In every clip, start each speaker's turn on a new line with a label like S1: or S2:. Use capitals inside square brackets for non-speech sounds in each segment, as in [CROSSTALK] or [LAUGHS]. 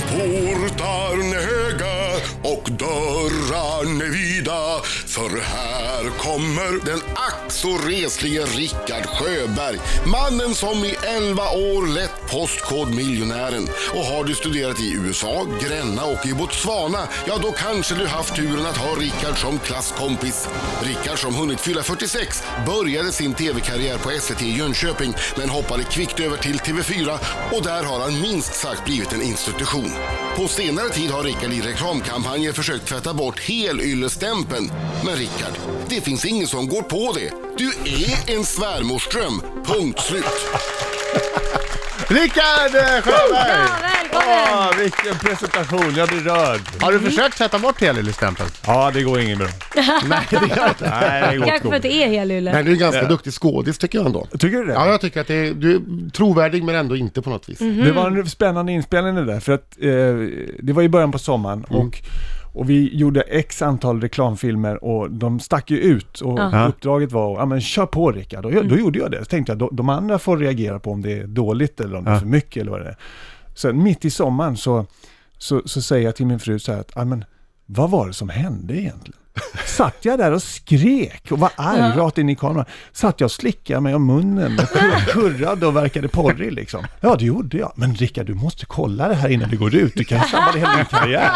S1: Portarn är höga och dörrarn är vida. För här kommer den ack så reslige Rickard Sjöberg. Mannen som i 11 år lett Postkodmiljonären. Och har du studerat i USA, Gränna och i Botswana, ja då kanske du haft turen att ha Rickard som klasskompis. Rickard som hunnit fylla 46 började sin tv-karriär på SVT i Jönköping men hoppade kvickt över till TV4 och där har han minst sagt blivit en institution. På senare tid har Rickard i reklamkampanjer försökt tvätta bort helyllestämpeln. Men Rickard, det finns ingen som går på det. Du är en svärmorsdröm. Punkt slut.
S2: Rickard eh, Sjöberg!
S3: Bra, välkommen!
S4: Ah, vilken presentation, jag blir rörd.
S2: Har du försökt tvätta bort helyllestämpeln?
S4: Ja, det går
S3: [LAUGHS]
S4: inget bra.
S2: Nej, det gör jag inte.
S4: Nej, det går åt
S3: Kanske för att
S4: skogen.
S3: det är helylle.
S2: Men du är en ganska duktig skådis tycker jag ändå.
S4: Tycker du det?
S2: Ja, jag tycker att det är, du är trovärdig men ändå inte på något vis.
S3: Mhm.
S4: Det var en spännande inspelning det där, för att eh, det var i början på sommaren och, och vi gjorde x antal reklamfilmer och de stack ju ut och
S3: Ja. Mm.
S4: uppdraget var, ja men kör på Rickard. Och jag, då gjorde jag det. Så tänkte jag, "Då- de andra får reagera på om det är dåligt eller om det är för mycket eller vad det är. Sen mitt i sommaren så, så, så säger jag till min fru så här att, ja men vad var det som hände egentligen? Satt jag där och skrek och var arg rakt in i kameran? Satt jag och slickade mig om munnen och [LAUGHS] kur- kurrade och verkade porrig liksom? Ja, det gjorde jag. Men Rickard, du måste kolla det här innan du går ut. Du kan sabba hela din karriär.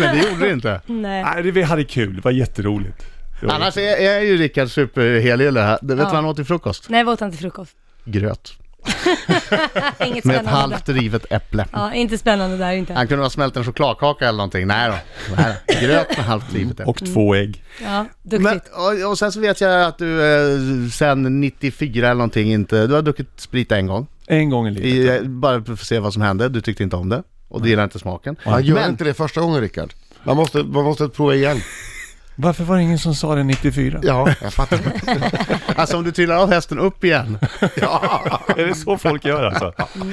S2: Men eh, det gjorde du inte.
S3: Nej.
S4: Nej, det, vi hade kul. Det var jätteroligt. Det var-
S2: [LAUGHS] Annars är, är ju Rickard superhelgylle här. Vet du vad han åt till frukost?
S3: Nej, vi åt inte frukost.
S2: Gröt.
S3: Ah, Inget
S2: Med ett
S3: spännande. där.
S2: halvt rivet äpple.
S3: Ja, inte spännande där inte.
S2: Han kunde ha smält en chokladkaka eller någonting. Nej då. Nej då. Gröt med halvt rivet äpple.
S4: Och två ägg.
S3: Ja, duktigt.
S2: Men, och, och sen så vet jag att du eh, sen 94 eller någonting inte, du har druckit sprit en gång.
S4: En gång i livet.
S2: I, eh, bara för att se vad som hände, du tyckte inte om det. Och du gillade inte smaken.
S5: Han gör
S2: Men-
S5: inte det första gången Rickard. Man måste, man måste prova igen.
S4: Varför var det ingen som sa det 94?
S5: Ja, jag
S2: [LAUGHS]
S5: fattar.
S2: Alltså om du trillar av hästen upp igen.
S4: Är det så folk gör alltså?
S2: Nej,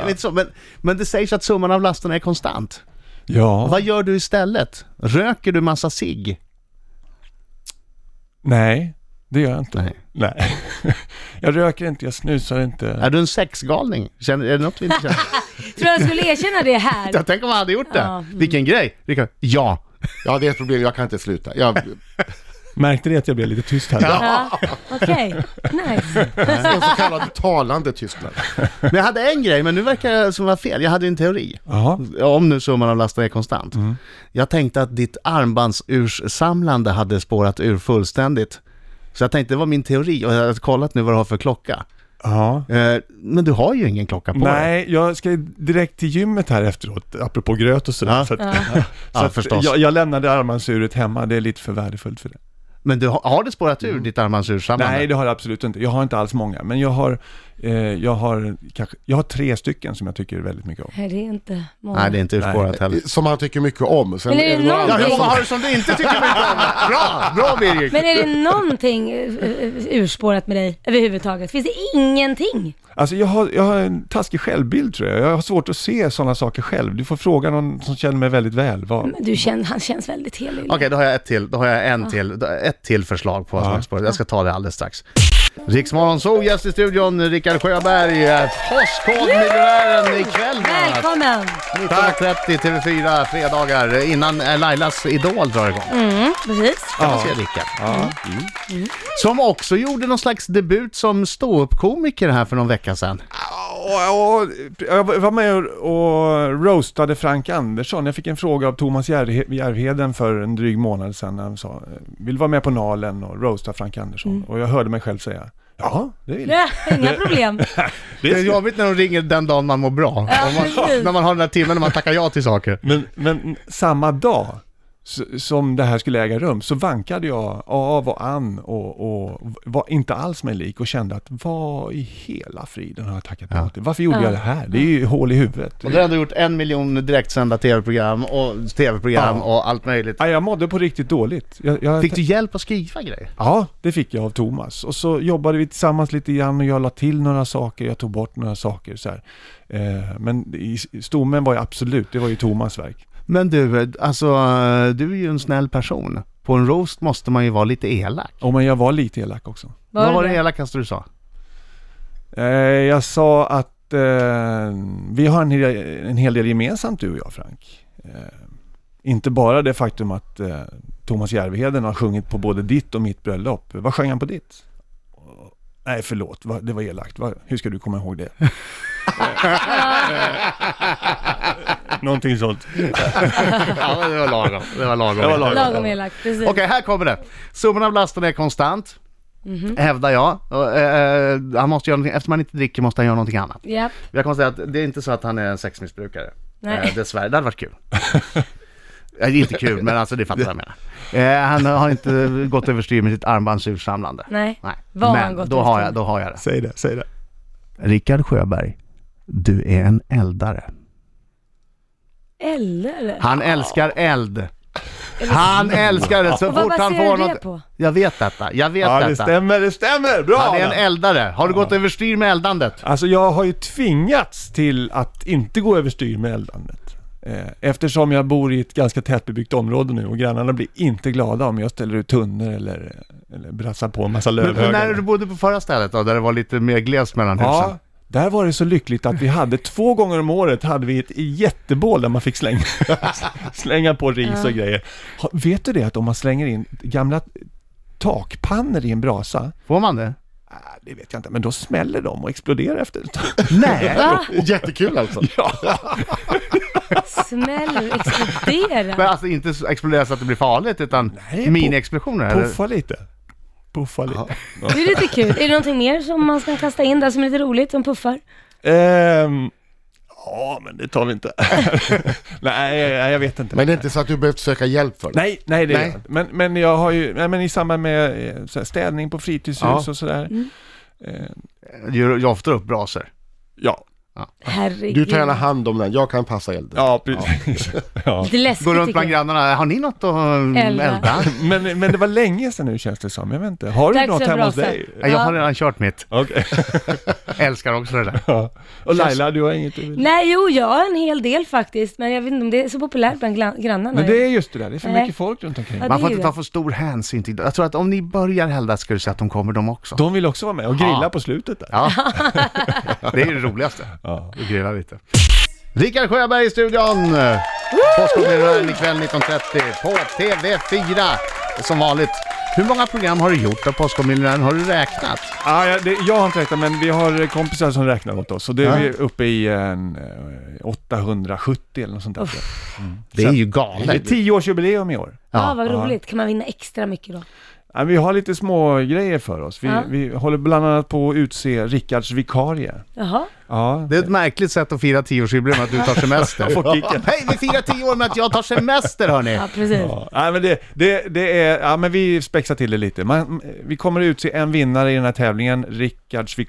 S2: men, inte så, men, men det sägs att summan av lasterna är konstant.
S4: Ja.
S2: Vad gör du istället? Röker du massa cigg?
S4: Nej, det gör jag inte.
S2: Nej.
S4: Nej. [LAUGHS] Jag röker inte, jag snusar inte.
S2: Är du en sexgalning? Känner, är det något vi inte
S5: [LAUGHS]
S2: känner?
S3: Tror jag skulle erkänna det här?
S2: jag tänker om han hade gjort det.
S3: Ja, mm.
S2: Vilken grej! Rickard, ja.
S5: Ja, det är ett problem. Jag kan inte sluta. Jag,
S4: Märkte ni att jag blev lite tyst här?
S3: Ja,
S2: [LAUGHS]
S3: okej. Nice.
S5: en så kallad talande tystnad.
S2: Men jag hade en grej, men nu verkar det som var fel. Jag hade en teori.
S4: Jaha.
S2: Om nu summan av lasterna är konstant.
S5: Mm.
S2: Jag tänkte att ditt armbandsurssamlande hade spårat ur fullständigt. Så jag tänkte, det var min teori och jag har kollat nu vad du har för klocka.
S4: Ja.
S2: Eh, Men du har ju ingen klocka på dig.
S4: Nej, jag ska direkt till gymmet här efteråt, apropå gröt och sådär. [LAUGHS]
S2: Ja.
S4: Så att,
S2: Ja, förstås.
S4: Jag, jag lämnade armbandsuret hemma, det är lite för värdefullt för det.
S2: Men du, har har det spårat ur ditt armbandsurssamlande?
S4: Nej, det har jag absolut inte. Jag har inte alls många, men jag har, eh, jag har, kanske, jag har tre stycken som jag tycker väldigt mycket om.
S3: Det är inte många.
S2: Nej, det är inte urspårat heller.
S5: Som han tycker mycket om. Sen
S3: Men är det
S5: några
S3: någon-
S5: andra-
S2: Ja, hur många har du som du inte tycker mycket om? Bra! Bra Birgit!
S3: Men är det någonting eh, eh, urspårat med dig överhuvudtaget? Finns det ingenting?
S4: Alltså jag har, jag har en taskig självbild tror jag. Jag har svårt att se sådana saker själv. Du får fråga någon som känner mig väldigt väl. Vad...
S3: Men Du känner, han känns väldigt helig.
S2: Okej, då har jag ett till. Då har jag en till. Då- Ett till förslag på vad som är spårat. Jag ska ta det alldeles strax. Riksmorgon så gäst i studion, Rickard Sjöberg, eh, Postkodmiljonären ikväll bland annat.
S3: Välkommen!
S2: 19.30 TV4, fredagar, innan eh, Lailas Idol drar igång.
S3: Mm. Precis.
S2: Kan man se Rickard. Mm. Som också gjorde någon slags debut som ståuppkomiker här för någon vecka sedan.
S4: Och, och, jag var med och, och roastade Frank Andersson. Jag fick en fråga av Thomas Järhe- Järvheden för en dryg månad sedan när han sa vill du vara med på Nalen och roasta Frank Andersson. Och jag hörde mig själv säga ja, det vill jag.
S3: Ja, inga
S2: [LAUGHS]
S3: problem.
S2: Det är jobbigt när de ringer den dagen man mår bra. Om man,
S3: precis.
S2: när man har den där timmen när man tackar ja till saker.
S4: Men, men samma dag s- som det här skulle äga rum så vankade jag av och an och, och var inte alls mig lik och kände att vad i hela friden har jag tackat ja till? Varför gjorde jag det här? Det är ju hål i huvudet.
S2: Och du har ändå gjort en miljon direktsända tv-program och tv-program
S4: Ja.
S2: och allt möjligt.
S4: Ja, jag mådde på riktigt dåligt. Jag, jag,
S2: Fick du hjälp att skriva grejer?
S4: Ja, det fick jag av Thomas. Och så jobbade vi tillsammans lite grann och jag la till några saker, jag tog bort några saker så här. Eh, men i, i stommen var jag absolut, det var ju Thomas verk.
S2: Men du, alltså eh, du är ju en snäll person. På en roast måste man ju vara lite elak.
S4: Och men jag var lite elak också.
S2: Vad var
S3: det?
S2: det elakaste du sa?
S4: Eh, jag sa att att eh, vi har en, hel- en hel del gemensamt du och jag Frank. Eh, inte bara det faktum att eh, Thomas Järvheden har sjungit på både ditt och mitt bröllop. Vad sjöng han på ditt? Nej, förlåt. Va, det var elakt. Va, hur ska du komma ihåg
S2: [LAUGHS]
S4: det? Någonting sånt.
S2: Ja, men det var lagom. Det var lagom.
S4: var lagom.
S3: Lagom elakt, precis.
S2: Okej, här kommer det. Summan av lasten är konstant. Hävdar jag. Och, eh, han måste göra någonting, eftersom han inte dricker måste han göra någonting annat.
S3: Japp.
S2: Jag kan säga att det är inte så att han är en sexmissbrukare.
S3: Nej.
S2: Eh, dessvärre, det hade varit kul. [LAUGHS] Eh, inte kul, men alltså det fattar jag menar. Eh, han har inte gått överstyr med sitt armbandsursamlande.
S3: Nej.
S2: Nej.
S3: Vad har han
S2: Men
S3: gått
S2: då har,
S3: överstyr
S2: jag, då har jag det.
S4: Säg det, säg det.
S2: Rickard Sjöberg, du är en eldare. [LAUGHS]
S3: Eller?
S2: Han älskar eld. Han älskar det så
S3: Och vad
S2: fort han
S3: baserar
S2: får
S3: du det
S2: något.
S3: på?
S2: Jag vet detta, jag vet
S4: Ja, det
S2: detta.
S4: stämmer, det stämmer. Bra!
S2: Han är en
S4: Adam.
S2: eldare. Har du gått överstyr med eldandet?
S4: Alltså jag har ju tvingats till att inte gå överstyr med eldandet. Eh, Eftersom jag bor i ett ganska tätbebyggt område nu och grannarna blir inte glada om jag ställer ut tunnor eller, eller brassar på en massa
S2: Men, men när
S4: lövhögar.
S2: du bodde på förra stället då, där det var lite mer glest mellan husen?
S4: Ja, där var det så lyckligt att vi hade två gånger om året hade vi ett jättebål där man fick slänga, [LAUGHS] slänga på ris och grejer. Ha, Vet du det att om man slänger in gamla takpannor i en brasa,
S2: Får man [LAUGHS] det?
S4: äh, det vet jag inte, men då smäller de och exploderar efter ett
S2: [LAUGHS]
S4: tag.
S2: Nej!
S3: Va?
S5: [LAUGHS] Jättekul alltså.
S3: Smäller och exploderar?
S2: Men alltså inte så- explodera så att det blir farligt utan
S4: Nej, på-
S2: miniexplosioner? eller?
S4: Puffa lite. Puffa lite.
S3: Det är lite kul. Är det någonting mer som man ska kasta in där som är lite roligt, som puffar?
S4: [LAUGHS] Ehm, ja, men det tar vi inte. [LAUGHS] nej, nej, jag vet inte.
S5: Men det är inte så att du behövt söka hjälp för det?
S4: Nej, nej det
S5: Nej.
S4: är jag inte. men, men jag har ju, nej, men i samband med eh, så här, städning på fritidshus
S2: Ja.
S4: och sådär.
S3: Mm.
S2: Gör jag ofta upp brasor.
S4: Ja,
S3: Herregud.
S5: Du tar gärna hand om den, jag kan passa elden.
S4: ja precis. [LAUGHS] Ja.
S3: Lite läskigt
S2: Går runt
S3: tycker
S2: bland
S3: jag.
S2: grannarna, har ni något att
S4: [LAUGHS]
S3: Elda.
S2: eh, elda?
S4: Men, men det var länge sedan nu känns det som, jag vet inte. Har du
S3: Dags
S4: något
S3: för
S4: hemma hos
S3: brasa.
S4: dig?
S2: Nej, Jag har redan kört mitt.
S4: Okej. [LAUGHS]
S2: Älskar också det där.
S4: Ja. Och Laila, du har inget du vill?
S3: Nej, jo, jag har en hel del faktiskt, men jag vet inte om det är så populärt bland gla- grannarna.
S4: Men det är just det där, det är för
S3: Nej.
S4: mycket folk runt omkring.
S3: Ja, det
S2: Man får
S3: är
S2: inte
S3: ju
S2: ta för stor hänsyn till Jag tror att om ni börjar elda ska du se att de kommer de också.
S4: De vill också vara med och grilla
S2: Ja.
S4: på slutet där.
S2: Ja, [LAUGHS] det är det roligaste.
S4: Ja.
S2: Och grilla lite. Rickard Sjöberg i studion! Påskkommunrören ikväll 19.30 på TV4. Som vanligt. Hur många program har du gjort av Påskkommunrören? Har du räknat?
S4: Ah, ja, det, jag har inte räknat, men vi har kompisar som räknar åt oss. Så det är vi uppe i en, eh, 870 eller något sånt där. tror jag.
S2: Det är ju
S4: Det är
S2: galet.
S4: tioårsjubileum i år.
S3: Ja,
S2: Ja.
S3: vad roligt. Kan man vinna extra mycket då?
S4: Ja, vi har lite små grejer för oss. Vi,
S3: Ja.
S4: vi håller bland annat på att utse Rickards vikarie.
S3: Jaha.
S4: Ja.
S2: Det är ett märkligt sätt att fira tioårsjubileum att du tar
S4: [LAUGHS]
S2: semester.
S4: får kicken.
S2: Hej, vi firar tio år med att jag tar semester hörni!
S3: Ja, precis.
S4: Ja, nej, men det, det, det är, ja, men vi spexar till det lite. Man, vi kommer att utse en vinnare i den här tävlingen.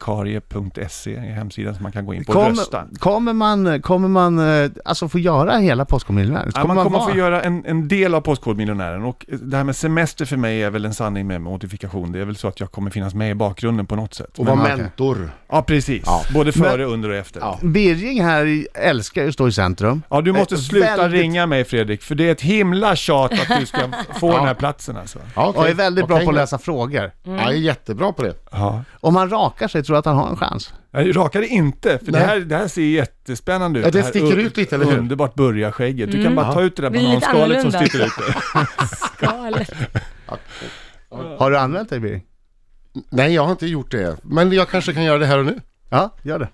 S4: Rickardsvikarie.se är hemsidan som man kan gå in på och rösta.
S2: Kommer, kommer man, kommer man eh, alltså få göra hela Påskkommunrören?
S4: Ja, man kommer
S2: vara-
S4: få göra en, en del av Postkodmiljonären och det här med semester för mig är väl en sanning med modifikation. Det är väl så att jag kommer finnas med i bakgrunden på något sätt.
S5: Och vara
S2: Men, okej.
S5: mentor.
S4: Ja, precis. Både före, under och efter. Ja.
S5: Ja.
S2: Birging här i- älskar ju att stå i centrum.
S4: du måste
S2: Eh,
S4: sluta
S2: väldigt-
S4: ringa mig Fredrik, för det är ett himla tjat att
S5: [LAUGHS]
S4: du ska få den här platsen alltså.
S5: Ja, okej.
S2: Och är väldigt bra
S5: Okej.
S2: på att läsa frågor.
S5: Ja, jag är jättebra på det.
S4: Ja.
S2: Om han rakar sig tror jag att han har en chans.
S4: Jag rakade inte, för det
S5: Nej.
S4: här, det här ser jättespännande ut.
S5: Ja, det
S4: här
S5: sticker
S4: un-
S5: ut lite, eller hur? Mm.
S4: Underbart burgarskägget. Du kan bara ta ut det där
S3: Blir lite
S4: bananskalet som
S3: annorlunda.
S4: sticker ut.
S3: Skalet.
S2: Har du använt dig Birging?
S5: Nej, jag har inte gjort det. Men jag kanske kan göra det här och nu.
S2: Ja, gör det.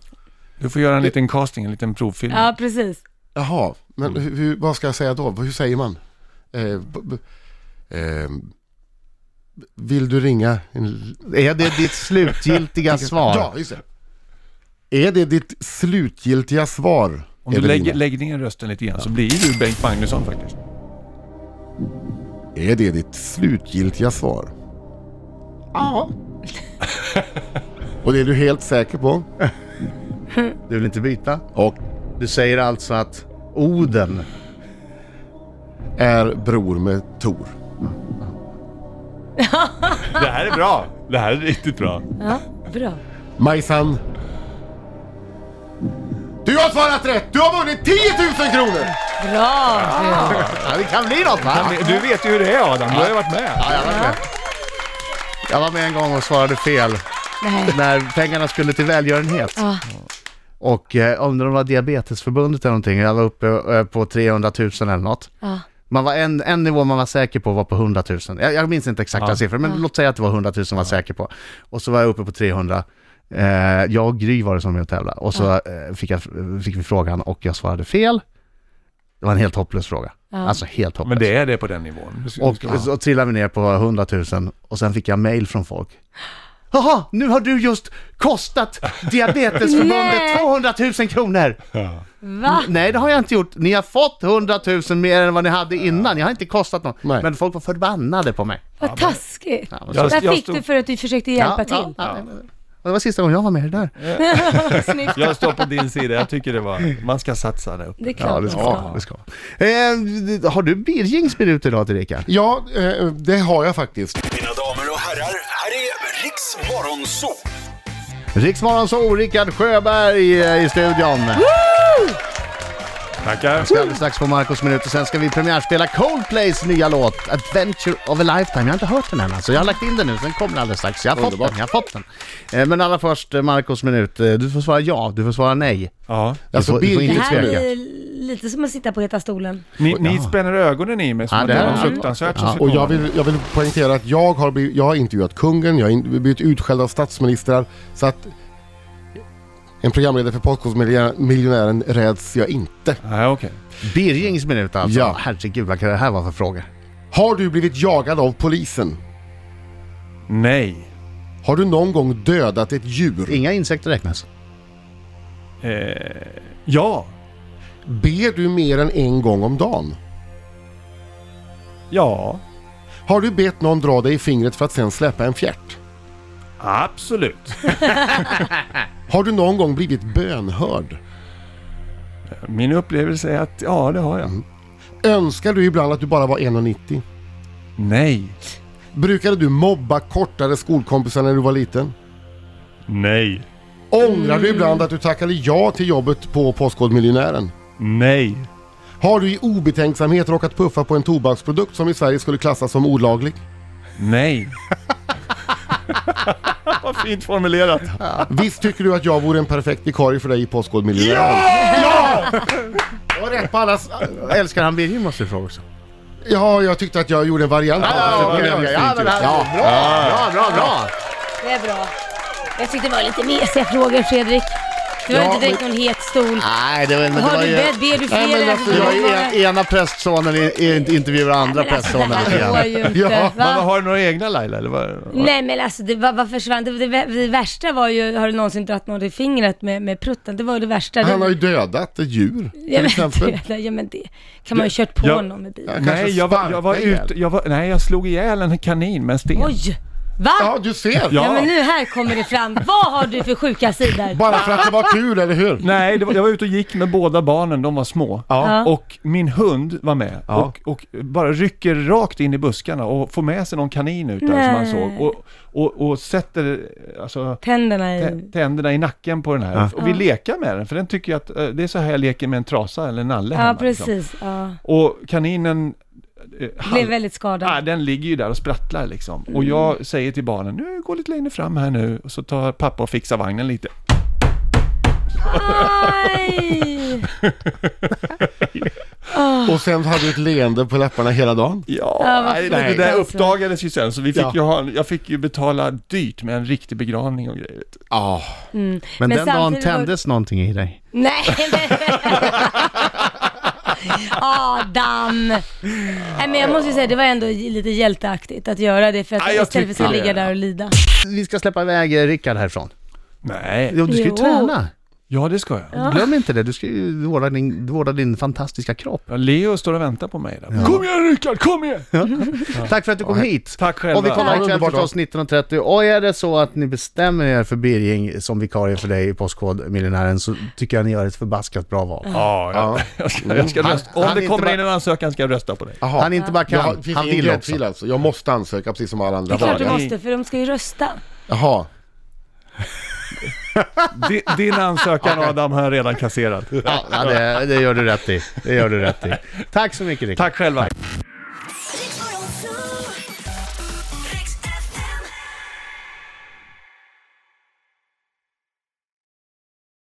S4: Du får göra en liten casting, en liten provfilm.
S3: Ja, precis.
S5: Jaha, men
S2: Mm.
S5: hur, hur, vad ska jag säga då? Hur säger man? Eh, b, b, eh, vill du ringa? En...
S2: Är
S4: [LAUGHS]
S2: det ditt slutgiltiga svar?
S5: Ja, just det. Är det ditt slutgiltiga svar?
S4: Om du
S5: Evelina?
S4: lägger, lägger ner rösten lite grann så blir du Bengt Magnusson faktiskt.
S5: Är det ditt slutgiltiga svar? Ja. Och det är du helt säker på?
S2: Du vill inte byta?
S5: Och
S2: Du säger alltså att Oden
S5: är bror med Tor.
S4: Det här är bra! Det här är riktigt bra.
S3: Ja, bra.
S5: Majsan. Du har svarat rätt! Du har vunnit 10 000 kronor!
S3: Bra! bra.
S2: Ja, det kan bli något va?
S4: Du vet ju hur det är Adam, du har ju varit med.
S2: Ja, jag var med. Jag var med en gång och svarade fel
S3: Nej.
S2: när pengarna skulle till välgörenhet.
S3: Ja.
S2: Och eh, undrar om det var Diabetesförbundet eller någonting. Jag var uppe eh, på 300 000 eller något.
S3: Ja.
S2: Man var en, en nivå man var säker på var på 100 000. Jag, jag minns inte exakta siffror, men låt säga att det var 100 000 man var säker på. Och så var jag uppe på 300. Eh, jag och Gry var det som ville tävla. Och så eh, fick, jag, fick vi frågan och jag svarade fel. Det var en helt hopplös fråga. Alltså helt hopplös.
S4: Men det är det på den nivån. Det ska-
S2: Och
S4: ska-
S2: så trillade vi ner på 100 000 och sen fick jag mail från folk. Jaha, nu har du just kostat Diabetesförbundet
S3: Nej.
S2: 200 000 kronor!
S3: Va?
S2: Nej, det har jag inte gjort. Ni har fått 100 000 mer än vad ni hade innan. Jag har inte kostat någon.
S5: Nej.
S2: Men folk var förbannade på mig.
S3: Vad taskigt.
S2: Ja, men så-
S4: Jag-
S3: Där
S4: jag
S3: fick
S4: stod-
S3: du för att du försökte hjälpa
S2: Ja,
S3: till. [LAUGHS]
S2: ja, ja. Och det var sista gången jag var med i det där.
S3: Snyggt.
S4: Jag står på din sida, jag tycker det var... Man ska satsa där uppe.
S3: Det är klart man ska.
S2: det ska. Eh, har du Birging spyr ut idag till Rickard?
S5: Ja, eh, det har jag faktiskt.
S6: Mina damer och herrar, här är Riks Morgonzoo!
S2: Riksmorgon så, Rickard Sjöberg eh, i studion.
S4: Tackar.
S2: Ska alldeles strax få Marcos minut och sen ska vi premiärspela Coldplays nya låt Adventure of a Lifetime. Jag har inte hört den än alltså. Jag har lagt in den nu, sen kommer den alldeles strax. Jag har fått
S5: Underbart.
S2: den, jag har fått den. Eh, Men allra först eh, Marcos minut. Eh, Du får svara ja, du får svara nej.
S4: Ja.
S2: Du
S5: Alltså,
S2: får, du får
S5: Birgit-
S3: Det
S2: inte
S3: här
S2: tveka.
S3: blir lite som att sitta på heta stolen.
S4: Ni, ni spänner ögonen i mig som
S2: Ja,
S4: att
S2: det
S4: det
S2: är
S4: var
S2: det.
S4: fruktansvärt
S2: Ja,
S4: som ska
S5: Och jag
S4: komma.
S5: vill, jag vill poängtera att jag har, blivit, jag har intervjuat kungen, jag har in, blivit utskälld av statsministrar. Så att en programledare för Postkodmiljonären räds jag inte.
S4: Nej, okej.
S2: Birgings minut alltså.
S5: Ja.
S2: Herregud, vad kan det här vara för fråga?
S5: Har du blivit jagad av polisen?
S4: Nej.
S5: Har du någon gång dödat ett djur?
S2: Inga insekter räknas.
S4: Eh, ja.
S5: Ber du mer än en gång om dagen?
S4: Ja.
S5: Har du bett någon dra dig i fingret för att sen släppa en fjärt?
S4: Absolut.
S5: Har du någon gång blivit bönhörd?
S4: Min upplevelse är att ja, det har jag.
S5: Önskar du ibland att du bara var 1,90?
S4: Nej.
S5: Brukade du mobba kortare skolkompisar när du var liten?
S4: Nej.
S5: Ångrar du ibland att du tackade ja till jobbet på Postkodmiljonären?
S4: Nej.
S5: Har du i obetänksamhet råkat puffa på en tobaksprodukt som i Sverige skulle klassas som olaglig?
S4: Nej. [LAUGHS] Vad fint formulerat.
S5: Visst tycker du att jag vore en perfekt vikarie för dig i Postkodmiljonären? Ja! Jag har rätt på alla... s-
S2: Älskar han Birging måste du fråga också.
S5: Ja, jag tyckte att jag gjorde en variant. på det.
S2: Ja, okej, okej. Ja, men det här-
S5: Ja.
S2: Bra, bra, bra!
S3: Det är bra. Jag tyckte det var lite mesiga frågor Fredrik. Du har
S5: Ja,
S3: inte direkt någon het stol.
S2: Nej, det var, men det
S3: Har
S2: var
S3: du
S2: ju...
S3: bett? Ber du
S5: Nej, men
S3: fler?
S5: alltså,
S2: Det
S3: du
S2: var ju
S3: bara-
S2: en, ena prästsonen i- i- intervjuar andra
S3: Men alltså,
S2: prästsonen
S3: det
S2: lite
S3: här
S2: grann.
S3: går ju inte.
S5: Ja,
S4: Men
S3: va?
S4: har du några egna Laila eller vad?
S3: Nej men alltså det, vad, vad försvann? Det, det, vä- det värsta var ju, har du någonsin dragit någon i fingret med, med prutten? Det var ju det värsta.
S5: Han har
S3: det,
S5: ju dödat ett djur,
S3: ja,
S5: till
S3: men,
S5: exempel.
S3: [LAUGHS] det, ja men det kan man ju kört på
S4: Ja.
S3: någon med bilen.
S5: kanske
S4: Nej, jag var, jag var
S5: sparkar ihjäl.
S4: ute, jag var, nej jag slog ihjäl en kanin med en sten.
S3: Oj! Va?
S5: Ja, du ser!
S4: Ja.
S3: Ja men nu här kommer det fram. Vad har du för sjuka sidor?
S5: Bara för att det var kul, eller hur?
S4: Nej, det var, jag var ute och gick med båda barnen, de var små.
S3: Ja.
S4: Och min hund var med och, och bara rycker rakt in i buskarna och får med sig någon kanin ut där som man
S3: Nej.
S4: såg. Och, och, och sätter alltså,
S3: Tänderna i...
S4: tä- tänderna i nacken på den här. Och vi lekar med den, för den tycker ju att eh, det är så här jag leker med en trasa eller en nalle
S3: Ja
S4: hemma, Liksom.
S3: precis. Ja.
S4: Och kaninen eh,
S3: Blev
S4: halv-
S3: väldigt skadad.
S4: Ja, den ligger ju där och sprattlar liksom. Och
S2: Mm.
S4: jag säger till barnen, nu går lite längre fram här nu. Och så tar pappa och fixar vagnen lite.
S3: Aj!
S5: Och sen hade du ett leende på läpparna hela dagen.
S4: Ja,
S3: Ja, vad
S4: nej, det
S3: fint
S4: där
S3: alltså.
S4: uppdagades ju sen. Så vi fick
S5: Ja.
S4: ju ha, en- jag fick ju betala dyrt med en riktig begravning och grejer.
S5: Ja.
S2: Men,
S3: Mm. Men
S2: den dagen
S3: samtidigt var-
S2: tändes någonting i dig.
S3: Nej men... Adam! Nej men jag måste ju säga, det var ändå lite hjälteaktigt att göra det för att
S4: Ja, jag
S3: istället för
S4: tycker
S3: att sen
S4: det.
S3: ligga där och lida.
S2: Vi ska släppa iväg eh, Rickard härifrån.
S4: Nej.
S2: Jo, du ska ju
S3: Jo.
S2: träna.
S4: Ja, det ska jag. Ja.
S2: Glöm inte det, du ska ju vårda din, vårda din fantastiska kropp.
S4: Leo står och väntar på mig där. Kom igen Rickard, kom igen!
S2: Tack för att du kom hit!
S4: Tack själva.
S2: Och vi
S5: Ja,
S2: kommer ikväll
S5: underbart.
S2: förstås 19.30. Och är det så att ni bestämmer er för Birging som vikarie för dig i Postkodmiljonären så tycker jag ni gör ett förbaskat bra val.
S4: Ja, jag, [LAUGHS] jag ska, jag ska rösta. Om
S2: Mm. han är
S4: det
S2: inte
S4: kommer
S2: bara-
S4: in en ansökan ska jag rösta på dig.
S5: Jaha.
S2: Han inte bara
S5: Jag har-
S2: kan,
S5: det finns
S2: han
S5: ingen
S2: vill
S5: gräddfil
S2: också.
S5: Alltså. Jag måste ansöka precis som alla andra
S3: Det är klart du
S5: dagar.
S3: måste, för de ska ju rösta.
S5: Jaha.
S4: Din, din
S2: [LAUGHS]
S4: ansökan Adam har jag redan kasserat.
S2: Ja, det, det gör du rätt i. Det gör du rätt i. Tack så mycket Rickard.
S4: Tack själva.